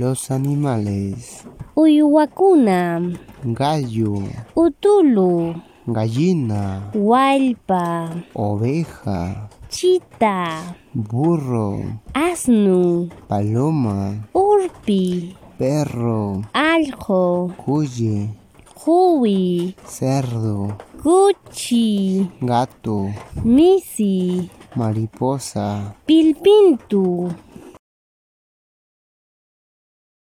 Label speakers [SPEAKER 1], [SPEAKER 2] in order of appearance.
[SPEAKER 1] Los animales.
[SPEAKER 2] Uyuwakuna,
[SPEAKER 1] Gallo,
[SPEAKER 2] Utulu,
[SPEAKER 1] gallina,
[SPEAKER 2] Hualpa,
[SPEAKER 1] oveja,
[SPEAKER 2] Chita,
[SPEAKER 1] burro,
[SPEAKER 2] Asnu,
[SPEAKER 1] paloma,
[SPEAKER 2] Urpi,
[SPEAKER 1] perro,
[SPEAKER 2] Aljo,
[SPEAKER 1] cuye,
[SPEAKER 2] Juwi,
[SPEAKER 1] cerdo,
[SPEAKER 2] Guchi,
[SPEAKER 1] gato,
[SPEAKER 2] Misi,
[SPEAKER 1] mariposa,
[SPEAKER 2] Pilpintu,